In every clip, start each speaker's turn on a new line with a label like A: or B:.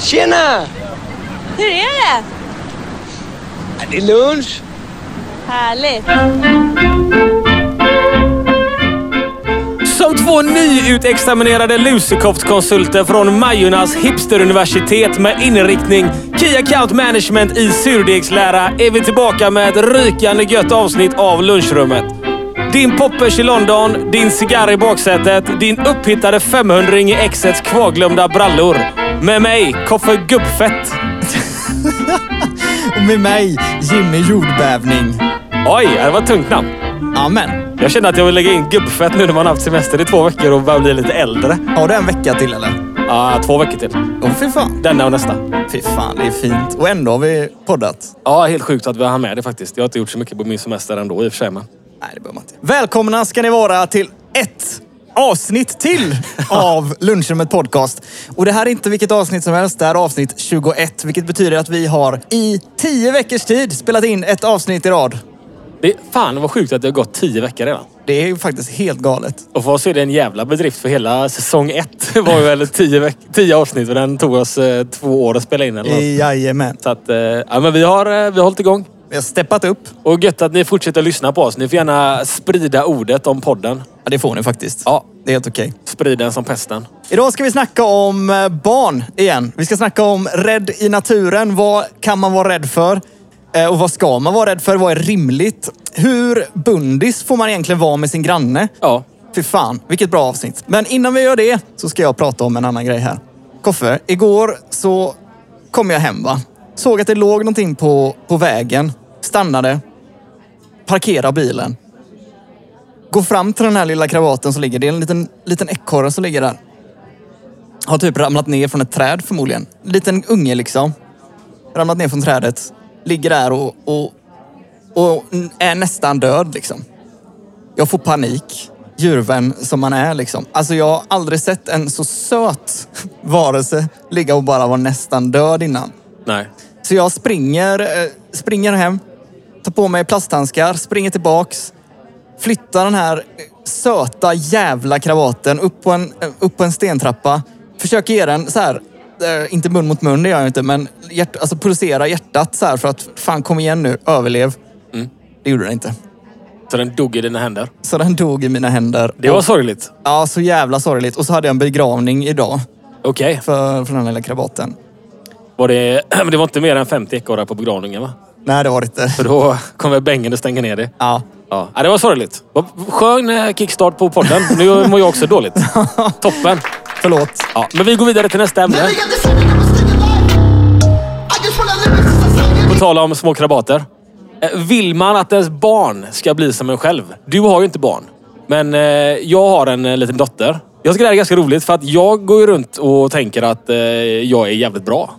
A: Tjena!
B: Hur är det?
A: Ja, Det är lunch.
B: Härligt.
C: Som två nyutexaminerade lusekoftkonsulter från Majornas hipsteruniversitet med inriktning Key Account Management i surdegslära är vi tillbaka med ett rykande gött avsnitt av lunchrummet. Din poppers i London, din cigarr i baksätet, din upphittade 500 i exets kvarglömda brallor. Med mig, Koffe Gubbfett.
D: Och med mig, Jimmy Jordbävning.
C: Oj, det var ett tungt namn.
D: Amen.
C: Jag känner att jag vill lägga in gubbfett nu när man haft semester i två veckor och börjar bli lite äldre.
D: Har du en vecka till eller?
C: Ja, två veckor till.
D: Åh fy fan.
C: Denna och nästa.
D: Fy fan, det är fint. Och ändå har vi poddat.
C: Ja, helt sjukt att vi har med det faktiskt. Jag har inte gjort så mycket på min semester ändå i och för sig. Men.
D: Nej, det behöver man inte. Välkomna ska ni vara till ett avsnitt till av Lunchrummet Podcast. Och det här är inte vilket avsnitt som helst. Det här är avsnitt 21, vilket betyder att vi har i tio veckors tid spelat in ett avsnitt i rad.
C: Det, fan vad sjukt att det har gått tio veckor redan.
D: Det är ju faktiskt helt galet.
C: Och för oss är det en jävla bedrift för hela säsong ett var ju väl tio, veck- tio avsnitt och den tog oss eh, två år att spela in. Eller något.
D: Jajamän.
C: Så att, eh, ja men vi har, eh, vi har hållit igång.
D: Vi har steppat upp.
C: Och gött att ni fortsätter lyssna på oss. Ni får gärna sprida ordet om podden.
D: Ja, det får ni faktiskt.
C: Ja.
D: Det är helt okej.
C: Sprid den som pesten.
D: Idag ska vi snacka om eh, barn igen. Vi ska snacka om rädd i naturen. Vad kan man vara rädd för? Eh, Och vad ska man vara rädd för? Vad är rimligt? Hur bundis får man egentligen vara med sin granne?
C: Ja,
D: Fy fan, vilket bra avsnitt. Men innan vi gör det så ska jag prata om en annan grej här. Koffe, igår så kom jag hem va. Såg att det låg någonting på, på vägen. Stannade. Parkera bilen. Gå fram till den här lilla kravaten som ligger. Det är en liten, liten ekorre som ligger där. Har typ ramlat ner från ett träd förmodligen. Liten unge liksom. Ramlat ner från trädet. Ligger där och, och, och är nästan död liksom. Jag får panik. Djurvän som man är liksom. Alltså jag har aldrig sett en så söt varelse ligga och bara vara nästan död innan.
C: nej.
D: Så jag springer, eh, springer hem, tar på mig plasthandskar, springer tillbaks, flyttar den här eh, söta jävla kravaten upp på en, eh, upp på en stentrappa. Försöker ge den så här, eh, inte mun mot mun, det gör jag inte, men hjärt, alltså pulsera hjärtat så här för att fan kom igen nu, överlev.
C: Mm.
D: Det gjorde den inte.
C: Så den dog i dina händer.
D: Så den dog i mina händer.
C: Det var sorgligt.
D: Ja, så jävla sorgligt. Och så hade jag en begravning idag
C: Okej.
D: för, för den här lilla krabaten.
C: Var det... Men det var inte mer än 50 ekorrar på begravningen va?
D: Nej, det var det inte.
C: För då kommer Bengen och stänger ner det.
D: Ja,
C: Ja, Ja, det var sorgligt. Vad Skön eh, kickstart på podden. Nu mår jag också dåligt. Toppen.
D: förlåt.
C: Ja, men vi går vidare till nästa ämne. På tal om små krabater. Eh, Vill man att ens barn ska bli som en själv? Du har ju inte barn. Men eh, jag har en eh, liten dotter. Jag tycker det här är ganska roligt för att jag går ju runt och tänker att eh, jag är jävligt bra.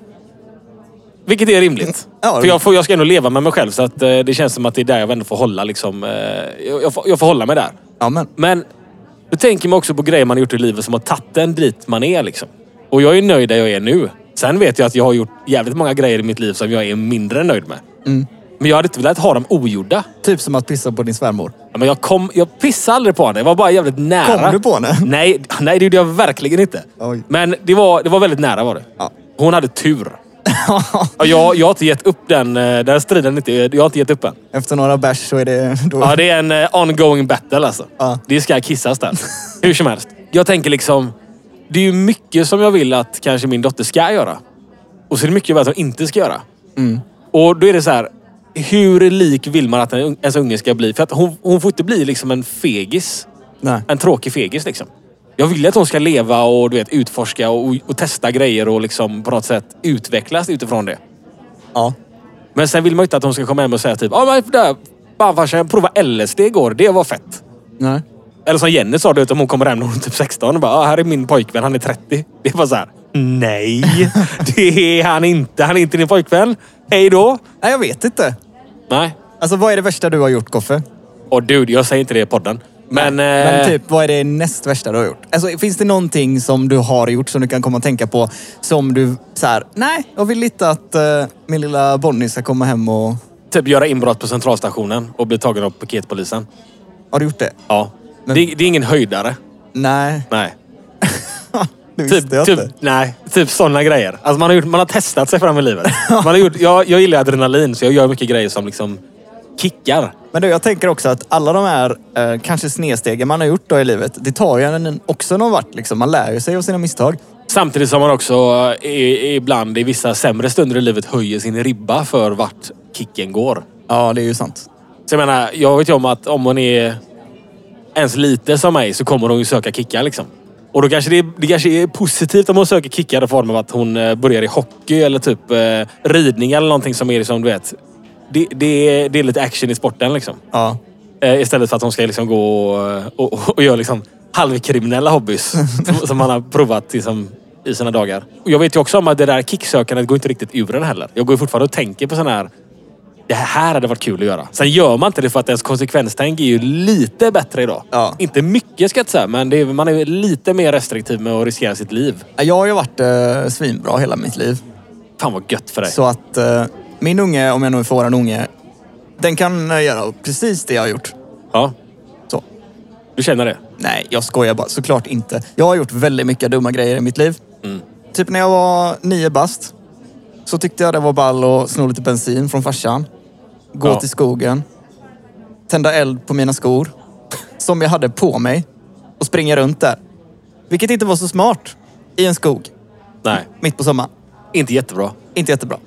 C: Vilket Mm. är rimligt.
D: Ja,
C: för jag, får, jag ska ändå leva med mig själv så att eh, det känns som att det är där jag ändå får hålla liksom. Eh, jag, jag, får, jag får hålla mig där.
D: Ja, men.
C: Men då tänker man också på grejer man har gjort i livet som har tagit en dit man är. Liksom. Och jag är nöjd där jag är nu. Sen vet jag att jag har gjort jävligt många grejer i mitt liv som jag är mindre nöjd med.
D: Mm.
C: Men jag hade inte velat ha dem ogjorda.
D: Typ som att pissa på din svärmor.
C: Ja, Men jag, kom, jag pissade aldrig på henne. Jag var bara jävligt nära.
D: Kom du på henne?
C: Nej, nej det gjorde jag verkligen inte.
D: Oj.
C: Men det var, det var väldigt nära var det.
D: Ja.
C: Hon hade tur. Och jag, jag har inte gett upp den, eh, den striden. Inte, jag har inte gett upp än.
D: Efter några bärs så är det... Då...
C: Ja, det är en eh, ongoing battle alltså.
D: Ja.
C: Det ska kissas där. Hur som helst. Jag tänker liksom... Det är ju mycket som jag vill att kanske min dotter ska göra. Och så är det mycket jag vill att hon inte ska göra. Och då är det så här. Hur lik vill man att en- ens unge ska bli? För att hon, hon får inte bli liksom en fegis.
D: Nej.
C: En tråkig fegis liksom. Jag vill att hon ska leva och du vet, utforska och, och testa grejer och liksom på något sätt utvecklas utifrån det.
D: Ja.
C: Men sen vill man ju inte att de ska komma hem och säga typ Ja men där, fan farsan jag provade LSD igår. Det var fett.
D: Nej.
C: Eller som Jenny sa, du vet om hon kommer hem när hon är typ 16 och bara ah, här är min pojkvän, han är 30. Det var så här. Nej, det är han inte. Han är inte din pojkvän. Hej då.
D: Nej, jag vet inte.
C: Nej.
D: Alltså, vad är det värsta du har gjort, Koffe?
C: Och dude, jag säger inte det i podden. Men, eh,
D: Men typ, vad är det näst värsta du har gjort? Alltså, finns det någonting som du har gjort som du kan komma att tänka på som du så här, nej, jag vill inte att eh, min lilla Bonnie ska komma hem och...
C: typ göra inbrott på centralstationen och bli tagen av piketpolisen.
D: Har du gjort det?
C: Ja.
D: Men-
C: Det, det är ingen höjdare.
D: Nej.
C: Nej.
D: Det
C: Typ,
D: visste jag
C: typ,
D: inte.
C: nej, typ sådana grejer. Alltså man, har gjort, man har testat sig fram i livet. Man har gjort, jag, jag gillar adrenalin, så jag gör mycket grejer som liksom kickar.
D: Men du, jag tänker också att alla de här eh, kanske snedstegen man har gjort då i livet, det tar ju en också någon vart. Liksom. Man lär ju sig av sina misstag.
C: Samtidigt som man också eh, i, ibland i vissa sämre stunder i livet höjer sin ribba för vart kicken går.
D: Ja, det är ju sant.
C: Så jag menar, jag vet ju om att om hon är ens lite som mig så kommer hon ju söka kickar liksom. Och då kanske det, är- det kanske är positivt om hon söker kickar i form av att hon eh, börjar i hockey eller typ eh, ridning eller någonting som är som du vet. Det, det, är- det är lite action i sporten liksom.
D: Ja.
C: Eh, istället för att hon ska liksom gå och, och, och göra liksom halvkriminella hobbys som, som man har provat liksom, i sina dagar. Och jag vet ju också om att det där kicksökandet går inte riktigt ur en heller. Jag går ju fortfarande och tänker på sådana här... Det här hade varit kul att göra. Sen gör man inte det för att ens konsekvenstänk är ju lite bättre idag.
D: Ja.
C: Inte mycket ska jag inte säga, men det är, man är lite mer restriktiv med att riskera sitt liv.
D: Jag har ju varit eh, svinbra hela mitt liv.
C: Fan vad gött för dig.
D: Så att eh, min unge, om jag nu får vara en unge, den kan eh, göra precis det jag har gjort.
C: Ja,
D: Så.
C: du känner det?
D: Nej, jag skojar bara. Såklart inte. Jag har gjort väldigt mycket dumma grejer i mitt liv. Typ när jag var nio bast så tyckte jag det var ball att sno lite bensin från farsan. Gå
C: Ja.
D: till skogen. Tända eld på mina skor. Som jag hade på mig. Och springa runt där. Vilket inte var så smart. I en skog.
C: Nej,
D: Mitt på sommaren.
C: inte jättebra.
D: Inte jättebra.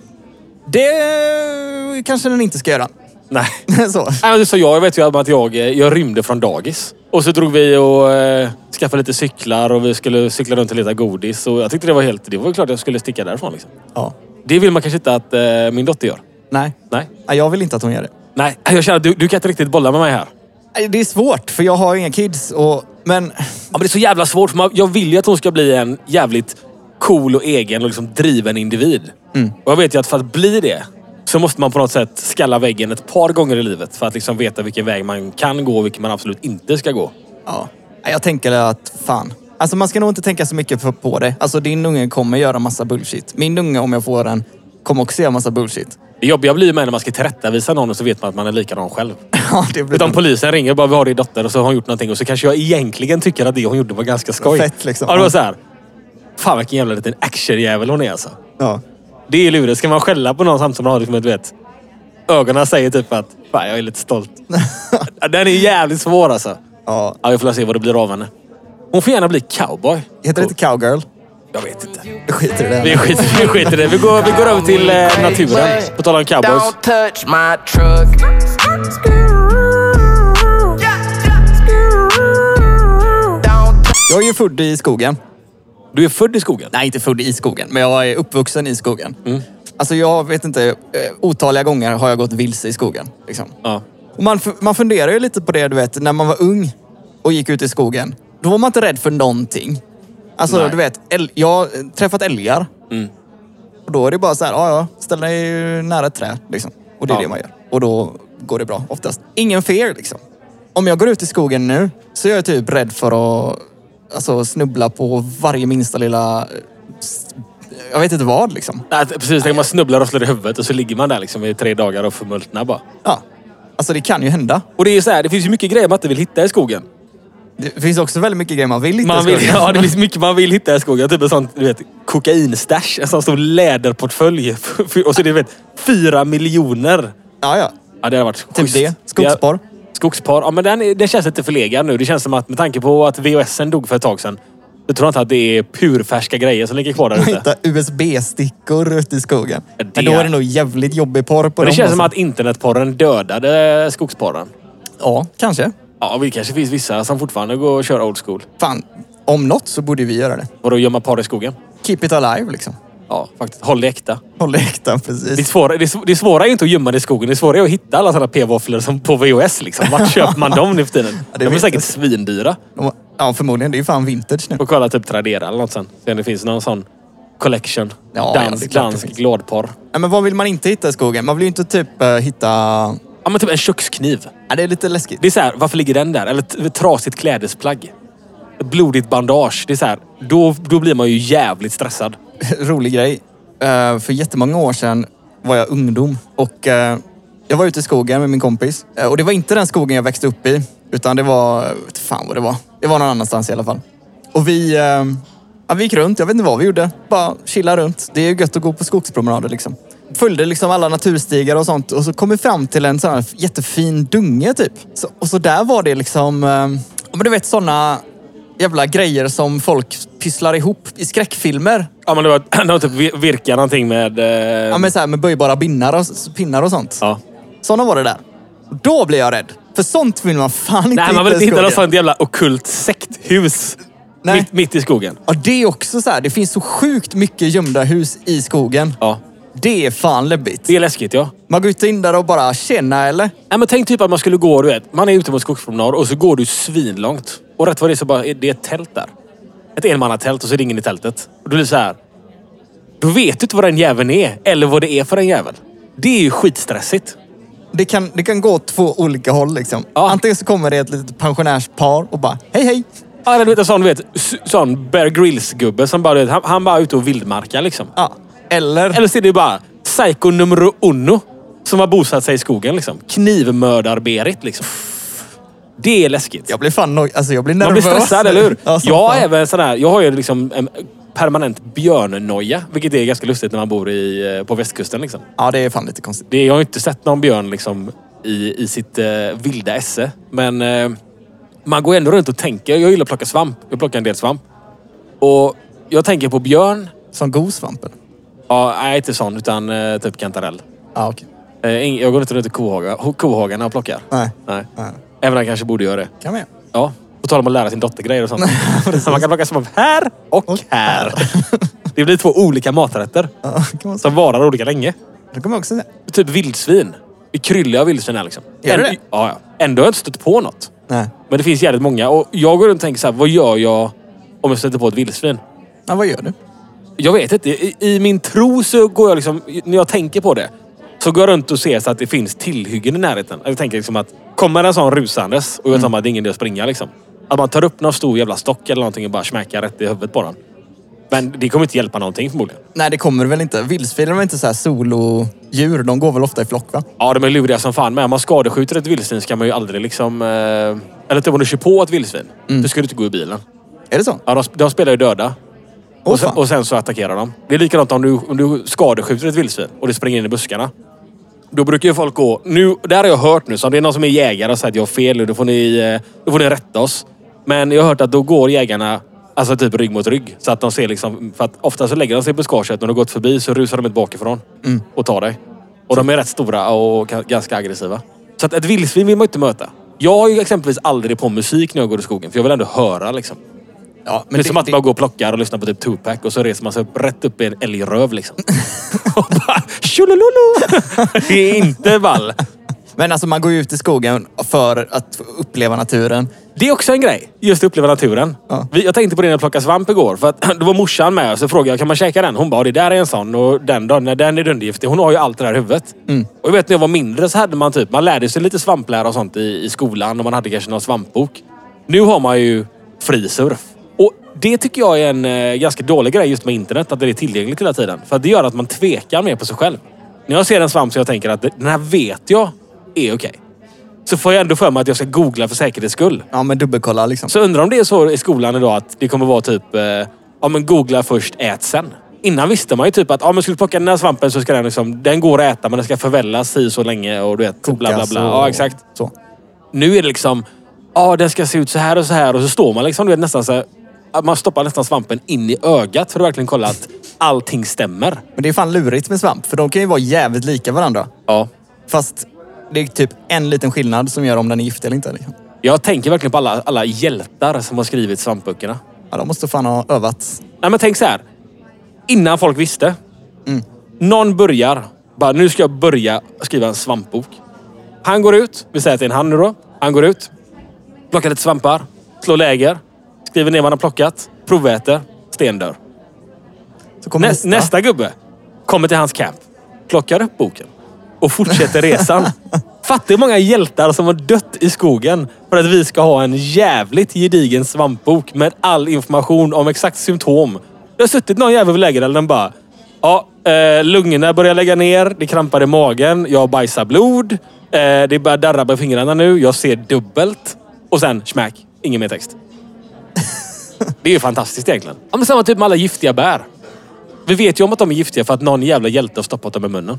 D: Det kanske den inte ska göra.
C: Nej.
D: så.
C: Nej, men så jag vet ju att jag, eh, jag rymde från dagis. Och så drog vi och eh, skaffade lite cyklar och vi skulle cykla runt och leta godis. Och jag tyckte det var helt... Det var ju klart jag skulle sticka därifrån liksom.
D: Ja.
C: Det vill man kanske inte att eh, min dotter gör.
D: Nej.
C: Nej.
D: Nej, Jag vill inte att hon gör det.
C: Nej, jag känner att du, du kan inte riktigt bolla med mig här.
D: Nej, Det är svårt för jag har ju inga kids. Och, men
C: Ja, men det är så jävla svårt. För man, jag vill ju att hon ska bli en jävligt cool och egen och liksom driven individ. Och jag vet ju att för att bli det så måste man på något sätt skalla väggen ett par gånger i livet. För att liksom veta vilken väg man kan gå och vilken man absolut inte ska gå.
D: Ja. Jag tänker att fan. Alltså man ska nog inte tänka så mycket på- på det. Alltså din unge kommer göra massa bullshit. Min unge, om jag får den, kommer också göra massa bullshit.
C: Det jobbiga blir ju med när man ska tillrättavisa någon och så vet man att man är likadan själv.
D: Ja, det blir
C: Utan polisen ringer och bara vi har din dotter och så har hon gjort någonting och så kanske jag egentligen tycker att det hon gjorde var ganska skoj.
D: Fett liksom.
C: Ja, det var så här. Fan vilken jävla liten actionjävel hon är alltså.
D: ja.
C: Det är lurigt. Ska man skälla på någon samtidigt som man har liksom, ett, du vet, ögonen säger typ att fan jag är lite stolt. Ja, Den är jävligt svår alltså.
D: ja.
C: Ja, vi får se vad det blir av henne. Hon får gärna bli cowboy.
D: Heter det inte cowgirl?
C: Jag vet inte.
D: Jag skiter i
C: Vi
D: det.
C: skiter, vi skiter i det. Vi går, vi går över till eh, naturen. På tal om cowboys.
E: Don't touch my truck. Don't
D: Jag är ju född i skogen.
C: Du är född i skogen.
D: Nej, inte född i skogen, men jag är uppvuxen i skogen.
C: Mm.
D: Alltså jag vet inte, eh, otaliga gånger har jag gått vilse i skogen. Liksom.
C: Ja.
D: Och man, f- man funderar ju lite på det, du vet, när man var ung och gick ut i skogen. Då var man inte rädd för någonting. Alltså,
C: Nej. Mm.
D: du vet, äl- jag har träffat älgar. Och då är det bara så här, ja, ja, ställ dig nära ett träd. Liksom. Och det är
C: Ja.
D: det man gör. Och då går det bra, oftast. Ingen fear, liksom. Om jag går ut i skogen nu så är jag typ rädd för att alltså, snubbla på varje minsta lilla... eh, s- Jag vet inte vad, liksom.
C: Nej, precis. Tänk man snubblar och slår i huvudet och så ligger man där liksom i tre dagar och förmultnar bara.
D: Ja. Alltså, det kan ju hända.
C: Och det är ju så här, det finns ju mycket grejer man inte vill hitta i skogen.
D: Det finns också väldigt mycket grejer man vill hitta
C: Man
D: i
C: vill,
D: skogen.
C: ja, det finns mycket man vill hitta i skogen. Typ en sån du vet, kokainstash. En sån stor läderportfölj. Och så är det du vet, fyra miljoner.
D: Ja, ja.
C: Ja, det har varit
D: Typ
C: schysst.
D: det. Skogsporr.
C: Ja, skogspar. Ja, men den, är- den känns lite förlegad nu. Det känns som att med tanke på att VHSen dog för ett tag sedan. Jag tror inte att det är purfärska grejer som ligger kvar där
D: Man
C: ute.
D: hittar USB-stickor ute i skogen.
C: Ja, det-
D: Men då är det nog jävligt jobbig porr på
C: Men det
D: dem
C: känns som
D: alltså.
C: att internetporren dödade skogsporren.
D: Ja, kanske.
C: Ja, det kanske finns vissa som fortfarande går och kör old school.
D: Fan, om något så borde vi göra det.
C: Vadå gömma par i skogen?
D: Keep it alive liksom.
C: Ja, faktiskt. Håll det äkta.
D: Håll äktan,
C: Det
D: precis.
C: svåra, det, sv- det svåra är ju inte att gömma det i skogen. Det svåra är att hitta alla sådana p-våfflor som på VHS. Liksom. Vart köper man dem nu för tiden? De är
D: vet
C: säkert
D: jag.
C: svindyra.
D: De- Ja, förmodligen. Det är ju fan vintage nu.
C: Och kolla typ Tradera eller något sen. Se om det finns någon sån collection.
D: Ja, ja, det är
C: dansk
D: klart det
C: dansk
D: finns.
C: glådporr.
D: Ja, men vad vill man inte hitta i skogen? Man vill ju inte typ eh, hitta...
C: Ja, men typ en kökskniv.
D: Ja, det är lite läskigt.
C: Det är så här, varför ligger den där? Eller ett ett trasigt klädesplagg. Ett blodigt bandage. Det är så här, då, då blir man ju jävligt stressad.
D: rolig grej. Eh, för jättemånga år sedan var jag ungdom och eh, jag var ute i skogen med min kompis. Eh, och det var inte den skogen jag växte upp i, utan det var, jag vet fan vad det var. Det var någon annanstans i alla fall. Och vi, eh, Ja, vi gick runt, jag vet inte vad vi gjorde. Bara chilla runt. Det är ju gött att gå på skogspromenader liksom. Följde liksom alla naturstigar och sånt och så kom vi fram till en sån här jättefin dunge typ. Så, och så där var det liksom, eh, ja, men du vet såna jävla grejer som folk pysslar ihop i skräckfilmer.
C: Ja, men det var, de typ vir- virkar någonting med... Eh,
D: Ja, men så här med böjbara binnar och, s- pinnar och sånt.
C: ja.
D: Såna var det där. Och då blir jag rädd. För sånt vill man fan inte
C: Nej, man vill inte hitta
D: i
C: något
D: skogen.
C: sånt jävla ockult sekthus.
D: Nej.
C: Mitt, mitt i skogen.
D: Ja, det är också så här. Det finns så sjukt mycket gömda hus i skogen.
C: Ja.
D: Det är fan läbbigt.
C: Det är läskigt, ja.
D: Man går inte in där och bara “tjena” eller?
C: Nej, men tänk typ att man skulle gå, du vet. Man är ute på en skogspromenad och så går du svinlångt. Och rätt vad det är så bara, är det är ett tält där. Ett enmannatält och så är det ingen i tältet. Och du blir så här. Då vet du inte vad den jäveln är. Eller vad det är för en jävel. Det är ju skitstressigt.
D: Det kan, det kan gå åt två olika håll liksom.
C: Ja.
D: Antingen så kommer det ett litet pensionärspar och bara “hej hej”.
C: Ja, eller du vet en sån, du vet, s- sån Bear Grylls-gubbe som bara, du vet, han, han bara är ute och vildmarkar liksom.
D: Ja. Eller,
C: Eller så är det bara psycho numero uno som har bosatt sig i skogen liksom. Knivmördar-Berit liksom. Det är läskigt.
D: jag blir fan no- alltså, jag blir
C: Man blir
D: nervös.
C: stressad, eller hur?
D: Ja, som
C: jag, har
D: fan.
C: även sån här, jag har ju liksom en permanent björnnoja. Vilket är ganska lustigt när man bor i, eh, på västkusten. Liksom.
D: Ja, det är fan lite konstigt.
C: Det, jag har ju inte sett någon björn liksom, i, i sitt eh, vilda esse. Men eh, man går ändå runt och tänker. Jag gillar att plocka svamp. Jag plockar en del svamp. Och jag tänker på björn.
D: Som god svamp eller?
C: Ja, nej, inte sån. Utan eh, typ kantarell.
D: Ja, okej.
C: Eh, ing- jag går inte runt i kohaga, ho- kohagarna och plockar.
D: Nej.
C: nej.
D: Nej.
C: Även om jag kanske borde göra det.
D: Kan man göra.
C: Ja, på tal om att lära sin dotter grejer och sånt. man kan plocka svamp här och, här. det blir två olika maträtter
D: Ja, kan man säga.
C: som varar olika länge.
D: Det kommer jag också säga.
C: Typ vildsvin. Det kryllar av vildsvin här liksom.
D: Gör det?
C: Ändå- Ja, ja. Ändå har jag inte stött på något.
D: Nej.
C: Men det finns jävligt många. Och jag går runt och tänker så här, vad gör jag om jag stöter på ett vildsvin?
D: Ja, vad gör du?
C: Jag vet inte. I, I min tro så går jag liksom... När jag tänker på det så går jag runt och ser så att det finns tillhyggen i närheten. Jag tänker liksom att kommer en sån rusandes och jag tar mig att det är ingen idé att springa liksom. Att man tar upp någon stor jävla stock eller någonting och bara smäcker rätt i huvudet på den. Men det kommer inte hjälpa någonting förmodligen.
D: Nej, det kommer väl inte. Vildsvin är väl inte så här solodjur? De går väl ofta i flock, va?
C: Ja, de är luriga som fan med. Om man skadeskjuter ett vildsvin så kan man ju aldrig liksom... Eh, eller typ om du kör på ett vildsvin. Då ska du inte gå i bilen.
D: Är det så?
C: Ja, de, de spelar ju döda.
D: Åh,
C: och, sen,
D: fan.
C: och sen så attackerar de. Det är likadant om du, om du skadeskjuter ett vildsvin och det springer in i buskarna. Då brukar ju folk gå... Nu, det här har jag hört nu, så om det är någon som är jägare och säger att jag har fel nu, då får ni, eh, då får ni rätta oss. Men jag har hört att då går jägarna alltså typ rygg mot rygg. Så att de ser liksom... För att ofta så lägger de sig i buskaget och när de har gått förbi så rusar de ut bakifrån
D: Mm.
C: och tar dig. Och de är rätt stora och ga- ganska aggressiva. Så att ett vildsvin vill man ju inte möta. Jag har ju exempelvis aldrig på musik när jag går i skogen, för jag vill ändå höra liksom.
D: Ja,
C: Men det är som att man går och plockar och lyssnar på typ Tupac och så reser man sig upp rätt upp i en älgröv liksom. och bara tjolololo! det är inte ball.
D: Men alltså man går ju ut i skogen för att uppleva naturen.
C: Det är också en grej. Just att uppleva naturen.
D: Ja.
C: Vi, jag tänkte på det när jag plockade svamp igår. För att då var morsan med och så frågade jag, kan man käka den? Hon bara, "Ja, det där är en sån och den då, när den är dundergiftig. Hon har ju allt det där i huvudet. Och jag vet när jag var mindre så hade man typ, man lärde sig lite svamplära och sånt i, i skolan och man hade kanske någon svampbok. Nu har man ju fri surf. Och det tycker jag är en eh, ganska dålig grej just med internet, att det är tillgängligt hela tiden. För att det gör att man tvekar mer på sig själv. När jag ser en svamp så jag tänker att den här vet jag är okej. Så får jag ändå för mig att jag ska googla för säkerhets skull.
D: Ja, men dubbelkolla liksom.
C: Så undrar om det är så i skolan idag att det kommer vara typ, eh, ja men googla först, ät sen. Innan visste man ju typ att, ja men skulle du plocka den här svampen så ska den liksom, den går att äta men den ska förvällas si så länge och du vet, bla bla
D: Kokas
C: bla.
D: och-
C: Ja exakt.
D: Så.
C: Nu är det liksom, ja den ska se ut så här och så här och så står man liksom, du vet nästan så här, att man stoppar nästan svampen in i ögat för att verkligen kolla att allting stämmer.
D: Men det är fan lurigt med svamp, för de kan ju vara jävligt lika varandra.
C: Ja.
D: Fast det är typ en liten skillnad som gör om den är giftig eller inte. Liksom.
C: Jag tänker verkligen på alla, alla hjältar som har skrivit svampböckerna.
D: Ja, de måste fan ha övat.
C: Nej men tänk så här. Innan folk visste. Någon börjar. Bara, nu ska jag börja skriva en svampbok. Han går ut. Vi säger att det är en han nu då. Han går ut. Plockar lite svampar. Slår läger. Skriver ner vad han har plockat. Proväter. Stendör.
D: Så kommer
C: Nästa. nästa gubbe kommer till hans camp. Plockar upp boken. Och fortsätter resan. Fattar hur många hjältar som har dött i skogen för att vi ska ha en jävligt gedigen svampbok med all information om exakt symptom. Det har suttit någon jävel vid lägerelden bara. Ja, eh, lungorna börjar lägga ner. Det krampar i magen. Jag bajsar blod. Eh, det börjar darra på fingrarna nu. Jag ser dubbelt. Och sen smack. Ingen mer text. Det är ju fantastiskt egentligen. Ja, men samma typ med alla giftiga bär. Vi vet ju om att de är giftiga för att någon jävla hjälte har stoppat dem i munnen.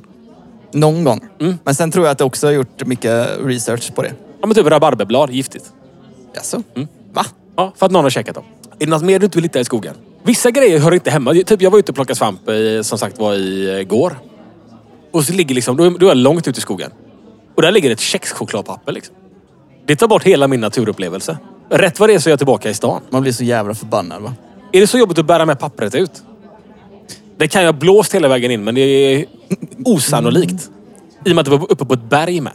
D: Någon gång.
C: Mm.
D: Men sen tror jag att jag också har gjort mycket research på det.
C: Ja, men typ rabarberblad, giftigt.
D: Jaså?
C: Mm.
D: Va?
C: Ja, för att någon har käkat dem. Är det något mer du inte vill hitta i skogen? Vissa grejer hör inte hemma. Typ jag var ute och plockade svamp i, som sagt var igår. Och så ligger liksom, då är, då är jag långt ute i skogen. Och där ligger ett kexchokladpapper liksom. Det tar bort hela min naturupplevelse. Rätt vad det är så är jag tillbaka i stan.
D: Man blir så jävla förbannad va?
C: Är det så jobbigt att bära med pappret ut? Det kan jag ha blåst hela vägen in, men det är osannolikt. I och med att det var uppe på ett berg med.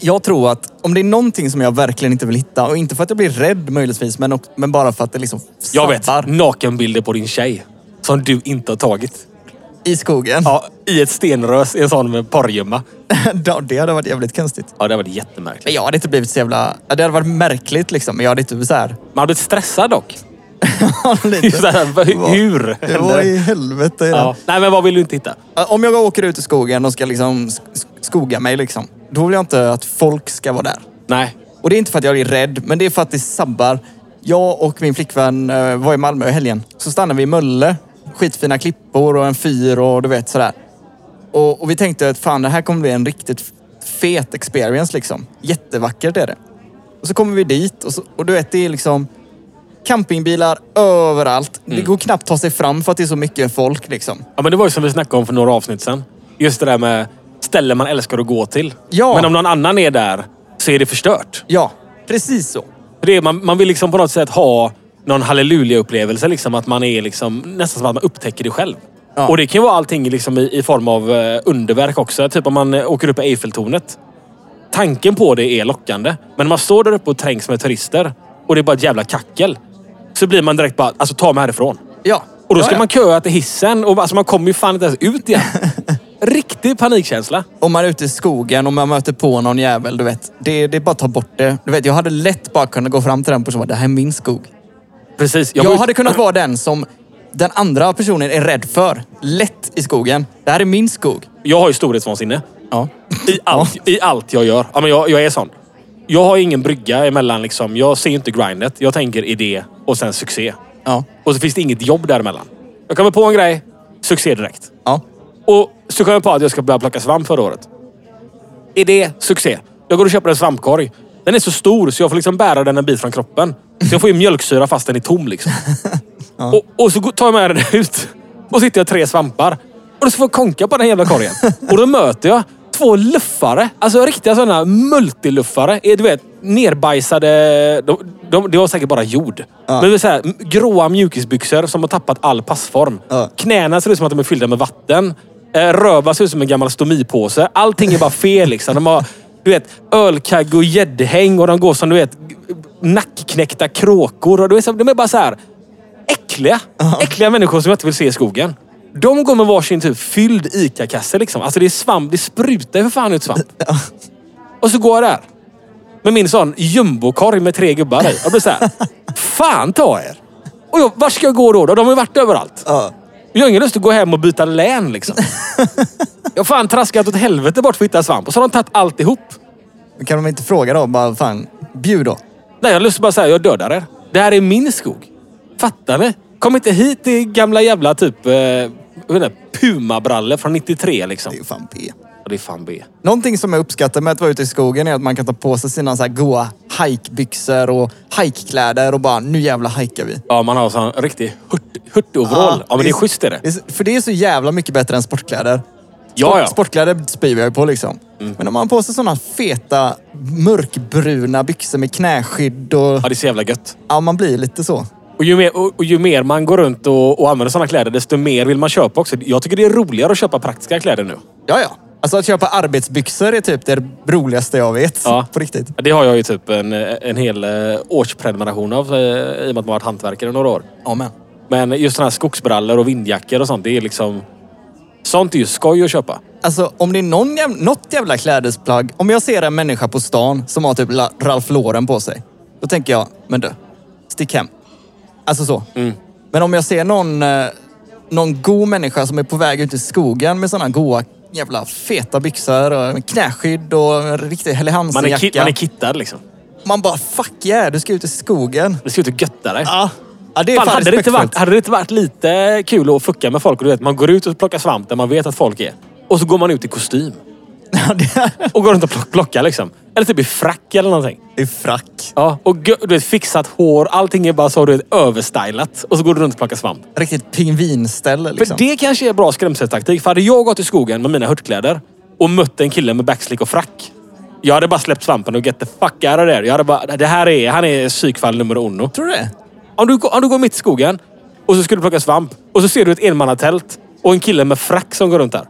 D: Jag tror att om det är någonting som jag verkligen inte vill hitta och inte för att jag blir rädd möjligtvis men, ock- men bara för att det liksom
C: Jag vet.
D: sabbar
C: Nakenbilder på din tjej. Som du inte har tagit.
D: i skogen.
C: Ja, i ett stenrös i en sån med porrgömma.
D: Ja, det hade varit jävligt konstigt.
C: Ja, det hade varit jättemärkligt.
D: Men jag hade inte blivit så jävla... ja, Det hade varit märkligt liksom men jag hade inte så här...
C: Man hade blivit stressad dock.
D: lite-
C: Så här, vad-
D: Vad-
C: hur
D: Det
C: hände
D: var
C: det?
D: i helvete. Ja.
C: Ja. Nej, men vad vill du inte hitta?
D: Om jag åker ut i skogen och ska liksom sk- sk- skoga mig liksom. Då vill jag inte att folk ska vara där.
C: Nej.
D: Och det är inte för att jag är rädd, men det är för att det sabbar. Jag och min flickvän eh, var i Malmö i helgen. Så stannade vi i Mölle. Skitfina klippor och en fyr och du vet sådär. Och, och vi tänkte att fan, det här kommer bli en riktigt fet experience liksom. Jättevackert är det. Och så kommer vi dit och, så, och du vet, det är liksom campingbilar överallt. Det
C: Mm.
D: går knappt att ta sig fram för att det är så mycket folk liksom.
C: Ja, men det var ju som vi snackade om för några avsnitt sedan. Just det där med ställen man älskar att gå till.
D: Ja.
C: Men om någon annan är där så är det förstört.
D: Ja, precis så.
C: För Det är, man, man vill liksom på något sätt ha någon halleluja-upplevelse. Liksom, att man är liksom, nästan som att man upptäcker det själv.
D: Ja.
C: Och det kan ju vara allting liksom i, i form av eh, underverk också. Typ om man eh, åker upp i Eiffeltornet. Tanken på det är lockande. Men när man står där uppe och trängs med turister och det är bara ett jävla kackel. Så blir man direkt bara, alltså ta mig härifrån.
D: Ja.
C: Och då ska
D: ja, ja.
C: man köa till hissen och alltså, man kommer ju fan inte ens ut igen. Riktig panikkänsla.
D: om man är ute i skogen och man möter på någon jävel, du vet. Det, det är bara att ta bort det. Du vet, jag hade lätt bara kunnat gå fram till den personen och bara, det här är min skog.
C: Precis.
D: Jag,
C: var ute-
D: hade kunnat vara den som den andra personen är rädd för. Lätt i skogen. Det här är min skog.
C: jag har ju storhetsvansinne.
D: Ja.
C: I allt, i allt jag gör. Ja, men jag, jag är sån. Jag har ingen brygga emellan. Liksom. Jag ser ju inte grindet. Jag tänker idé och sen succé.
D: Ja.
C: Och så finns det inget jobb däremellan. Jag kommer på en grej, succé direkt.
D: Ja.
C: Och så kom jag på att jag ska börja plocka svamp förra året. Idé, succé. Jag går och köper en svampkorg. Den är så stor så jag får liksom bära den en bit från kroppen. Så jag får ju mjölksyra fast den är tom liksom. och, och så går- tar jag med den ut. Och sitter jag tre svampar. Och så får jag konka på den jävla korgen. och då möter jag två luffare. Alltså riktiga sådana multiluffare. Är, Du vet, nerbajsade... De, de, det var säkert bara jord. Men det är så här, m- gråa mjukisbyxor som har tappat all passform.
D: Ja.
C: Knäna ser ut som att de är fyllda med vatten. Eh, Röva ser ut som en gammal stomipåse. Allting är bara fel liksom. De har du vet, ölkagg och gäddhäng och de går som du vet, nackknäckta kråkor. Och du vet, så- de är bara så här äckliga. Äckliga människor som jag inte vill se i skogen. De går med varsin typ fylld ICA-kasse. Liksom. Alltså det är svamp. Det sprutar ju för fan ut svamp. Och så går jag där. Med min sån jumbokorg med tre gubbar i. Jag blir så här. Fan ta er! Och jag, vart ska jag gå då? då? De har ju varit överallt.
D: Ja.
C: Jag har ingen lust att gå hem och byta län liksom. Jag har fan traskat åt helvete bort för att hitta svamp. Och så har de tagit alltihop.
D: Men Kan de inte fråga då? Bara, fan, bjud då.
C: Nej, jag har lust att bara säga jag dödar er. Det här är min skog. Fattar ni? Kom inte hit i gamla jävla typ... Eh, vad är det? Pumabrallor från 93 liksom.
D: Det är ju fan B.
C: Och det är fan B.
D: Någonting som jag uppskattar med att vara ute i skogen är att man kan ta på sig sina så här goa hajkbyxor och hajkkläder och bara, nu jävla hajkar vi.
C: Ja, man har sån riktig hurt- hurtoverall. ja, men det är schysst är det.
D: är- För det är så jävla mycket bättre än sportkläder.
C: Ja, Mm. ja.
D: Sportkläder spyr jag ju på liksom. Men om man har på sig sådana feta, mörkbruna byxor med knäskydd och...
C: Ja, det är så jävla gött.
D: Ja, man blir lite så.
C: Och ju mer, och, och ju mer man går runt och, och använder såna kläder, desto mer vill man köpa också. Jag tycker det är roligare att köpa praktiska kläder nu.
D: Ja, ja. Alltså att köpa arbetsbyxor är typ det roligaste jag vet.
C: Ja.
D: På riktigt.
C: Det har jag ju typ en, en hel eh, årsprenumeration av eh, i och med att man har varit hantverkare i några år.
D: Amen.
C: Men just sådana här skogsbrallor och vindjackor och sånt, det är liksom... Sånt är ju skoj att köpa.
D: Alltså om det är någon jäv, något jävla klädesplagg. Om jag ser en människa på stan som har typ La- Ralph Lauren på sig. Då tänker jag, men du, stick hem. Alltså så.
C: Mm.
D: Men om jag ser någon, eh, någon god människa som är på väg ut i skogen med sådana goa jävla feta byxor och med knäskydd och en riktig Helly
C: Man är, ki-
D: Hansen-jacka.
C: man är
D: Man,
C: kittad liksom.
D: bara, fuck yeah, du ska ut i skogen.
C: Det ser ut att götta dig.
D: Ja. Ja, det är
C: Fan,
D: fan
C: hade, det inte varit,
D: respektfullt.
C: hade det inte varit lite kul att fucka med folk? Och du vet, man går ut och plockar svamp där man vet att folk är. Och så går man ut i kostym.
D: Ja, det-
C: Och går runt och plock- plockar liksom. Eller typ i frack eller någonting.
D: Det är frack.
C: Ja. Och gö- du vet, fixat hår. Allting är bara så du vet, överstylat. Och så går du runt och plockar svamp.
D: Riktigt pingvinställe liksom.
C: För det kanske är bra skrämseltaktik. För hade jag gått i skogen med mina hurtkläder och mött en kille med backslick och frack. Jag hade bara släppt svampen och get the fuck out of there. Jag hade bara, det här är, han är psykfall nummer uno.
D: Tror du det?
C: Om du, går- om du går mitt i skogen och så ska du plocka svamp och så ser du ett enmannatält och en kille med frack som går runt där.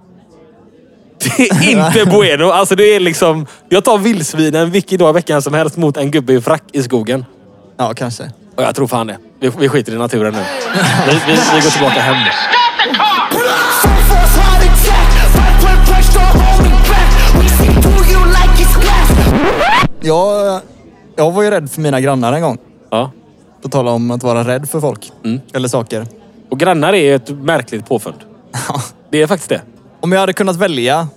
C: Det är inte bueno. Alltså det är liksom... Jag tar vildsvinen vilken dag i veckan som helst mot en gubbe i frack i skogen.
D: Ja, kanske.
C: Och jag tror fan det. Vi, vi skiter i naturen nu. Vi, vi, vi går tillbaka hem.
F: Full force heart attack. Right blood pressure holding back. We see through you like it's glass.
D: Jag, jag var ju rädd för mina grannar en gång.
C: Ja.
D: På tal om att vara rädd för folk. Eller saker.
C: Och grannar är ju ett märkligt påfund. Det är faktiskt det.
D: Om jag hade kunnat välja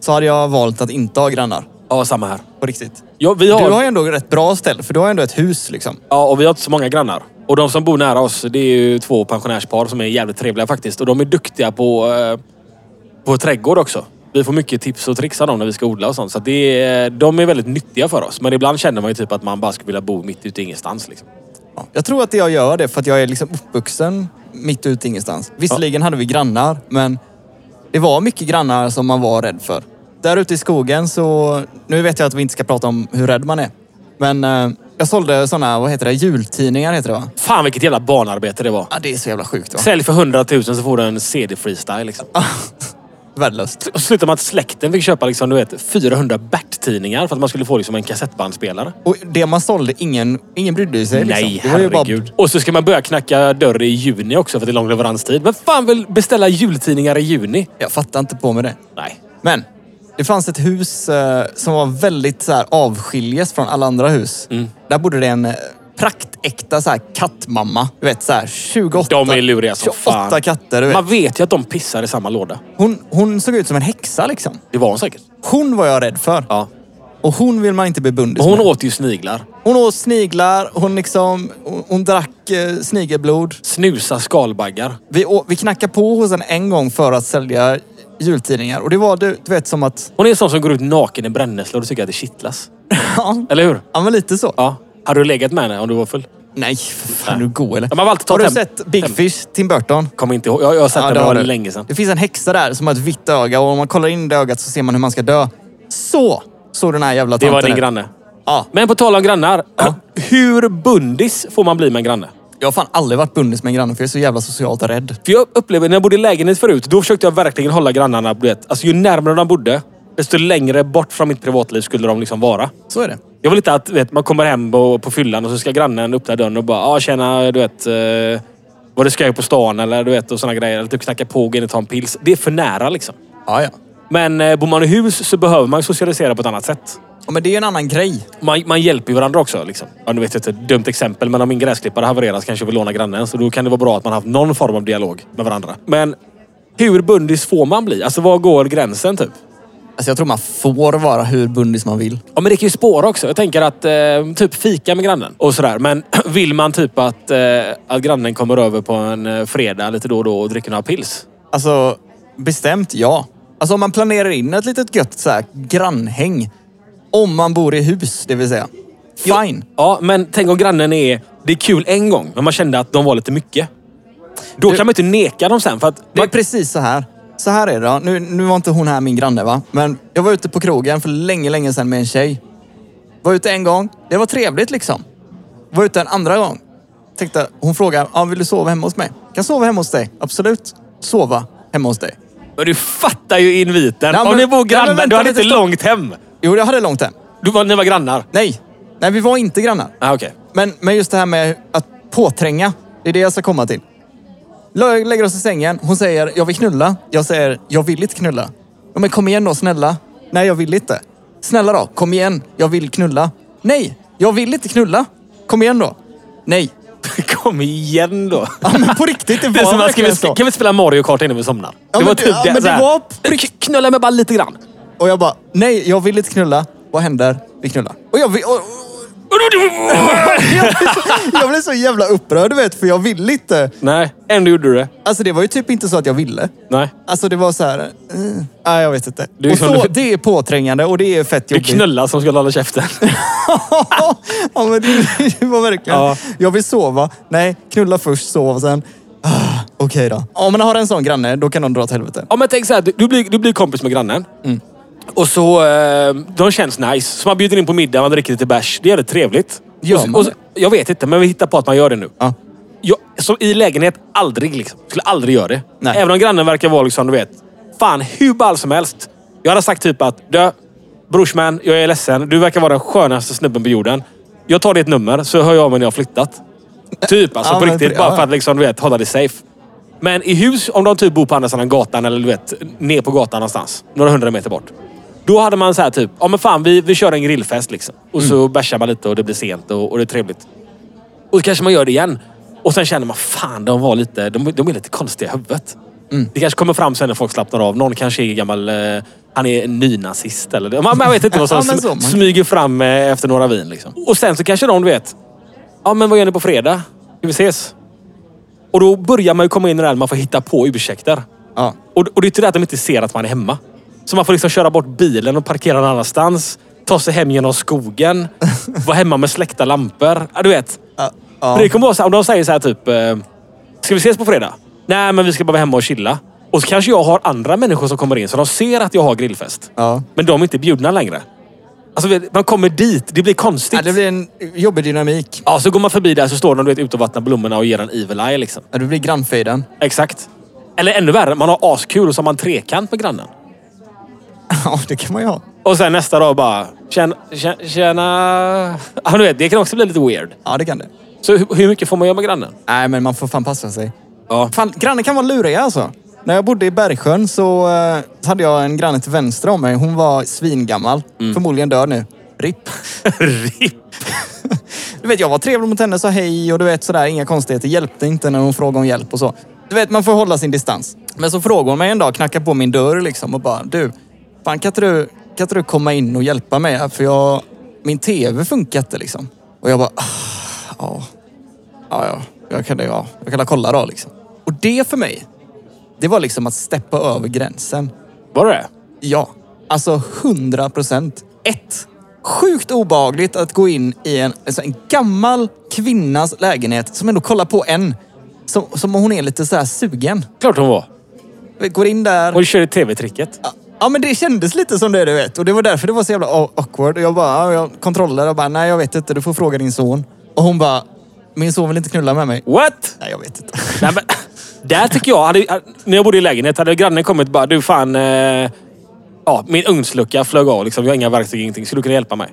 D: så hade jag valt att inte ha grannar.
C: Ja, samma här.
D: På riktigt.
C: Ja, vi har,
D: Du har ju ändå rätt bra ställe, för du har ju ändå ett hus liksom.
C: ja, och vi har inte så många grannar. Och de som bor nära oss, det är ju två pensionärspar som är jävligt trevliga faktiskt. Och de är duktiga på, eh, på trädgård också. Vi får mycket tips och tricks av dem när vi ska odla och sånt. Så att det är, de är väldigt nyttiga för oss. Men ibland känner man ju typ att man bara skulle vilja bo mitt ute i ingenstans. Liksom.
D: Ja. Jag tror att jag gör det för att jag är liksom uppvuxen mitt ute ingenstans. Visserligen hade vi grannar, men det var mycket grannar som man var rädd för. Där ute i skogen så... Nu vet jag att vi inte ska prata om hur rädd man är. Men eh, jag sålde såna, vad heter det, jultidningar heter det va?
C: Fan vilket jävla barnarbete det var.
D: Ja, det är så jävla sjukt va?
C: Sälj för 100 000 så får du en CD-freestyle. Liksom.
D: Värdelöst.
C: Och så slutade med att släkten fick köpa liksom, du vet, 400 Bert-tidningar för att man skulle få liksom, en kassettbandspelare.
D: Och det man sålde, ingen, ingen brydde sig.
C: Nej,
D: liksom. Det var ju bara-
C: herregud. Och så ska man börja knacka dörr i juni också för att det är lång leveranstid. Men fan vill beställa jultidningar i juni?
D: Jag fattar inte på med det.
C: Nej.
D: Men det fanns ett hus eh, som var väldigt så här, avskiljes från alla andra hus.
C: Mm.
D: Där bodde det en eh, praktäkta så här, kattmamma. Du vet så här 28,
C: De är luriga som
D: 28
C: fan.
D: katter. Du vet.
C: Man vet ju att de pissar i samma låda.
D: Hon, hon såg ut som en häxa liksom.
C: Det var hon säkert.
D: Hon var jag rädd för.
C: Ja.
D: Och hon vill man inte bli bundis
C: Och hon
D: med.
C: åt ju sniglar.
D: Hon åt sniglar, hon, liksom, hon, hon drack eh, snigelblod.
C: Snusa skalbaggar.
D: Vi, å- vi knackade på hos henne en gång för att sälja jultidningar. Och det var du, du vet som att...
C: Hon är en sån som går ut naken i brännässlor och tycker att det kittlas.
D: Ja,
C: Eller hur?
D: ja men lite så.
C: Ja. Hade du legat med henne om du var full?
D: Nej, för fan. Är du god eller?
C: De har alltid
D: Har
C: tagit
D: du
C: hem-
D: sett Big
C: hem.
D: Fish, Tim Burton?
C: Kommer inte ihåg. Jag, jag har sett
D: det
C: den
D: har
C: det
D: du.
C: länge sedan.
D: Det finns en häxa där som har ett vitt öga och om man kollar in det ögat så ser man hur man ska dö. Så såg den här jävla
C: Det
D: tanten
C: var din
D: ut.
C: granne.
D: Ja,
C: Men på tal om grannar. Hur bundis får man bli med en granne?
D: jag har fan aldrig varit bundis med en granne för jag är så jävla socialt rädd.
C: För jag upplever, när jag bodde i lägenhet förut, då försökte jag verkligen hålla grannarna... Du vet, alltså ju närmare de bodde, desto längre bort från mitt privatliv skulle de liksom vara.
D: Så är det.
C: Jag vill inte att du vet, man kommer hem på, på fyllan och så ska grannen öppna dörren och bara ah, “Tjena, du vet, eh, vad du ska göra på stan” eller du vet, och såna grejer. Eller typ knacka på och gå in och ta en pils. Det är för nära liksom.
D: Ja, ja.
C: Men eh, bor man i hus så behöver man ju socialisera på ett annat sätt.
D: ja men det är ju en annan grej.
C: Man, man hjälper ju varandra också. Liksom. Ja, nu vet jag inte, ett dumt exempel, men om min gräsklippare havereras kanske jag vill låna grannens. Så då kan det vara bra att man haft någon form av dialog med varandra. Men hur bundis får man bli? Alltså var går gränsen typ?
D: Alltså jag tror man får vara hur bundis man vill.
C: Ja, men det kan ju spåra också. Jag tänker att eh, typ fika med grannen och sådär. Men vill man typ att, eh, att grannen kommer över på en eh, fredag lite då och då och dricker några pils?
D: Alltså, bestämt ja. Alltså om man planerar in ett litet gött så här, grannhäng. Om man bor i hus, det vill säga. Fine.
C: Ja, men tänk om grannen är... Det är kul en gång, men man kände att de var lite mycket. Då kan man inte neka dem sen. För att
D: Det är
C: man,
D: precis så här. Så här är det då. Nu, nu var inte hon här min granne va. Men jag var ute på krogen för länge, länge sedan med en tjej. Var ute en gång. Det var trevligt liksom. Var ute en andra gång. Tänkte, hon frågar, ah, vill du sova hemma hos mig? Kan sova hemma hos dig? Absolut. Sova hemma hos dig.
C: men du fattar ju inviten.
D: Nej,
C: om
D: men-
C: ni bor
D: Nej, men
C: grannar,
D: vänta
C: du hade
D: lite
C: inte
D: stopp.
C: långt hem.
D: Jo, jag hade långt hem.
C: Du var, ni var grannar?
D: Nej. Nej, vi var inte grannar.
C: Ah, okej.
D: Men, men just det här med att påtränga. Det är det jag ska komma till. Lö- Lägger oss i sängen. Hon säger, jag vill knulla. Jag säger, jag vill inte knulla. Ja, men kom igen då, snälla. Nej, jag vill inte. Snälla då, kom igen. Jag vill knulla. Nej, jag vill inte knulla. Kom igen då. Nej.
C: Kom igen då.
D: Ja, men på riktigt, det
C: Det är
D: var
C: som man
D: verkligen
C: skulle,
D: så.
C: kan vi spela Mario Kart innan vi somnar?
D: Ja,
C: det var
D: men-
C: typ
D: ja, men det
C: så här.
D: var
C: Knulla mig bara lite grann.
D: Och jag bara, nej, jag vill inte knulla. Vad händer? Vi knullar. Och jag vill, och, och, Jag blev så jävla upprörd, du vet, för jag ville inte.
C: Nej, ändå gjorde du det.
D: Alltså det var ju typ inte så att jag ville.
C: Nej.
D: Alltså det var så här... eh, nej, jag vet inte.
C: Det är
D: och
C: som
D: så,
C: du-
D: det är påträngande och det är fett
C: Det är
D: jobbigt.
C: knullar som ska hålla käften.
D: ja, men det, det var verkligen...
C: Ja.
D: Jag vill sova. Nej, knulla först, sova sen. Ah, Okej då. Om man har en sån granne, då kan de dra åt helvete.
C: Om jag tänker så här, du- du blir, du blir kompis med grannen.
D: Mm.
C: Och så, eh, de känns nice. Så man bjuder in på middag, man dricker lite bärs. Det är jävligt trevligt.
D: Gör
C: och, så-
D: man
C: och, så- jag vet inte, men vi hittar på att man gör det nu.
D: Ja.
C: Jag, så I lägenhet, aldrig liksom. Skulle aldrig göra det.
D: Nej.
C: Även om grannen verkar vara liksom, du vet. Fan, hur ball som helst. Jag hade sagt typ att, du brorsman, jag är ledsen. Du verkar vara den skönaste snubben på jorden. Jag tar ditt nummer, så hör jag av mig när jag har flyttat. Typ alltså,
D: Ja,
C: på
D: men-
C: riktigt.
D: ja.
C: Bara för att liksom, du vet, hålla det safe. Men i hus, om de typ bor på andra sidan gatan eller du vet, ner på gatan någonstans. Några hundra meter bort. Då hade man så här typ, ja men fan vi, vi kör en grillfest liksom. Och
D: Mm.
C: så bärsar man lite och det blir sent och, och det är trevligt. Och så kanske man gör det igen. Och sen känner man, fan de var lite, de, de är lite konstiga i huvudet.
D: Mm.
C: Det kanske kommer fram sen när folk slappnar av. Någon kanske är gammal, eh, han är en nynazist eller man, man vet inte vad som
D: Ja, men så,
C: sm-
D: man-
C: smyger fram eh, efter några vin liksom. Och sen så kanske de, du vet, ja men vad gör ni på fredag? Ska vi ses? Och då börjar man ju komma in i det här man får hitta på ursäkter.
D: Ja.
C: Och, och det är till det att de inte ser att man är hemma. Så man får liksom köra bort bilen och parkera någon annanstans. Ta sig hem genom skogen. vara hemma med släckta lampor. Ja, du vet.
D: Ja.
C: För det
D: ja.
C: kommer vara så här, om de säger så här typ... eh, Ska vi ses på fredag? Nej, men vi ska bara vara hemma och chilla. Och så kanske jag har andra människor som kommer in så de ser att jag har grillfest.
D: ja.
C: Men de är inte bjudna längre. Alltså, vet- man kommer dit. Det blir konstigt.
D: ja det blir en jobbig dynamik.
C: Ja, så går man förbi där så står de du vet, ute och vattnar blommorna och ger en evil eye liksom.
D: Ja, det blir grannfejden.
C: Exakt. Eller ännu värre, man har askul och så har man trekant med grannen.
D: Ja, det kan man ju ha.
C: Och sen nästa dag bara... Tjena... tjena- Tjena... Ja, du vet, det kan också bli lite weird.
D: Ja, det kan det.
C: Så hur, hur mycket får man göra med grannen?
D: Nej, men man får fan passa sig.
C: Ja.
D: Fan, grannar kan vara luriga alltså. När jag bodde i Bergsjön så eh, hade jag en granne till vänster om mig. Hon var svingammal. Förmodligen död nu. RIP.
C: RIP!
D: Du vet, jag var trevlig mot henne, sa hej och du vet sådär, inga konstigheter. Hjälpte inte när hon frågade om hjälp och så. Du vet, man får hålla sin distans. Men så frågade hon mig en dag, knackade på min dörr liksom och bara, du, fan kan inte du, kan inte du komma in och hjälpa mig här? För jag, min tv funkar inte liksom. Och jag bara, ah, ja, ja, ja, jag kan, ja, jag kan kolla då liksom. Och det för mig, det var liksom att steppa över gränsen.
C: Var det det
D: Ja, alltså 100 procent. Ett, sjukt obehagligt att gå in i en, alltså en gammal kvinnas lägenhet som ändå kollar på en. Som, som om hon är lite så här sugen.
C: Klart hon var.
D: Vi Går in där.
C: Hon körde tv-tricket.
D: Ja, men det kändes lite som det du vet. Och det var därför det var så jävla au- awkward. Och jag bara, ja, jag kontrollerar och bara, nej jag vet inte, du får fråga din son. Och hon bara, min son vill inte knulla med mig.
C: What?
D: Nej, jag vet inte.
C: Nej, men, där tycker jag... Hade, när jag bodde i lägenhet hade grannen kommit och bara du fan... Eh, ja, min ugnslucka flög av liksom. Jag har inga verktyg, ingenting. Skulle du kunna hjälpa mig?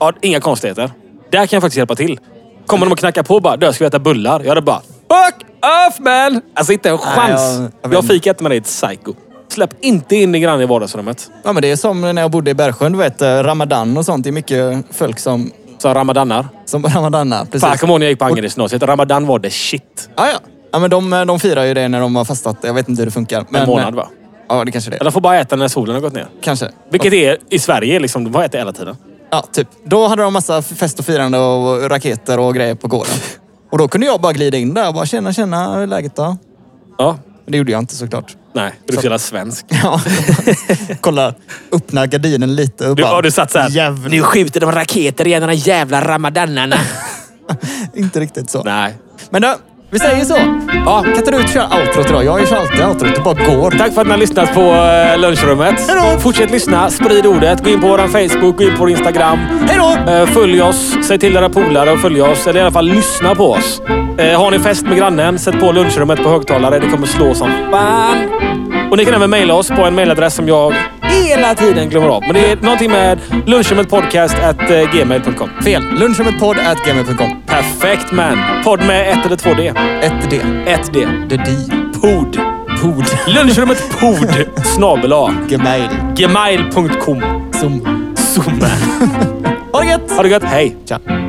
C: Ja, inga konstigheter. Där kan jag faktiskt hjälpa till. Kommer de och knackar på och bara du, ska vi äta bullar? Jag hade bara fuck off man! Alltså inte en chans.
D: jag- jag
C: jag
D: vet
C: jag
D: inte.
C: fick inte med dig ett psycho. Släpp inte in din granne i vardagsrummet.
D: Ja, men det är som när jag bodde i Bergsjön, du vet, eh, ramadan och sånt. Det är mycket folk som,
C: Som ramadanar.
D: som ramadanar. Precis.
C: Fan, jag kommer ihåg när jag gick på Angeredsgymnasiet. Ramadan var det shit.
D: Ja, ja. ja men de, eh, de firar ju det när de har fastat. Jag vet inte hur det funkar. Men, eh,
C: månad, va?
D: Ja, det kanske det är.
C: De får bara äta när solen har gått ner.
D: Kanske.
C: Vilket är i Sverige. Liksom, de får äta hela tiden.
D: Ja, typ. Då hade de massa fest och firande och raketer och grejer på gården. Och då kunde jag bara glida in där och bara tjena, tjena, hur är läget då?
C: Ja.
D: Men det gjorde jag inte såklart.
C: Nej, du är så jävla svensk.
D: Ja. Kolla, öppna gardinen lite och
C: Du,
D: bara...
C: ja, du satt såhär.
D: Jävlar.
C: Nu skjuter de raketer igen, de här jävla ramadanarna.
D: Inte riktigt så.
C: Nej.
D: Men du, vi säger så. Ja, kan inte du köra outrot idag? Jag kör alltid outrot och bara går.
C: Tack för att ni har lyssnat på eh, lunchrummet.
D: Hejdå!
C: Fortsätt lyssna, sprid ordet. Gå in på vår Facebook, gå in på vår Instagram.
D: Hej då!
C: Eh, Följ oss, säg till era polare att följa oss. Eller i alla fall lyssna på oss. Eh, Har ni fest med grannen, sätt på lunchrummet på högtalare. Det kommer slå som fan. Och ni kan även mejla oss på en mejladress som jag hela tiden glömmer av. Men det är någonting med eh, lunchrummetpodcast.gmail.com.
D: Fel. Lunchrummetpodd.gmail.com.
C: Perfekt man! Podd med ett eller två D.
D: 1D.
C: Ett D.
D: The D.
C: Pod.
D: Pod.
C: Lunchrummet pod. Snabel A.
D: Gemail.
C: Gmail.com.
D: Zoom.
C: Zoom.
D: Ha det gött!
C: Ha det gött. Hej!
D: Ciao.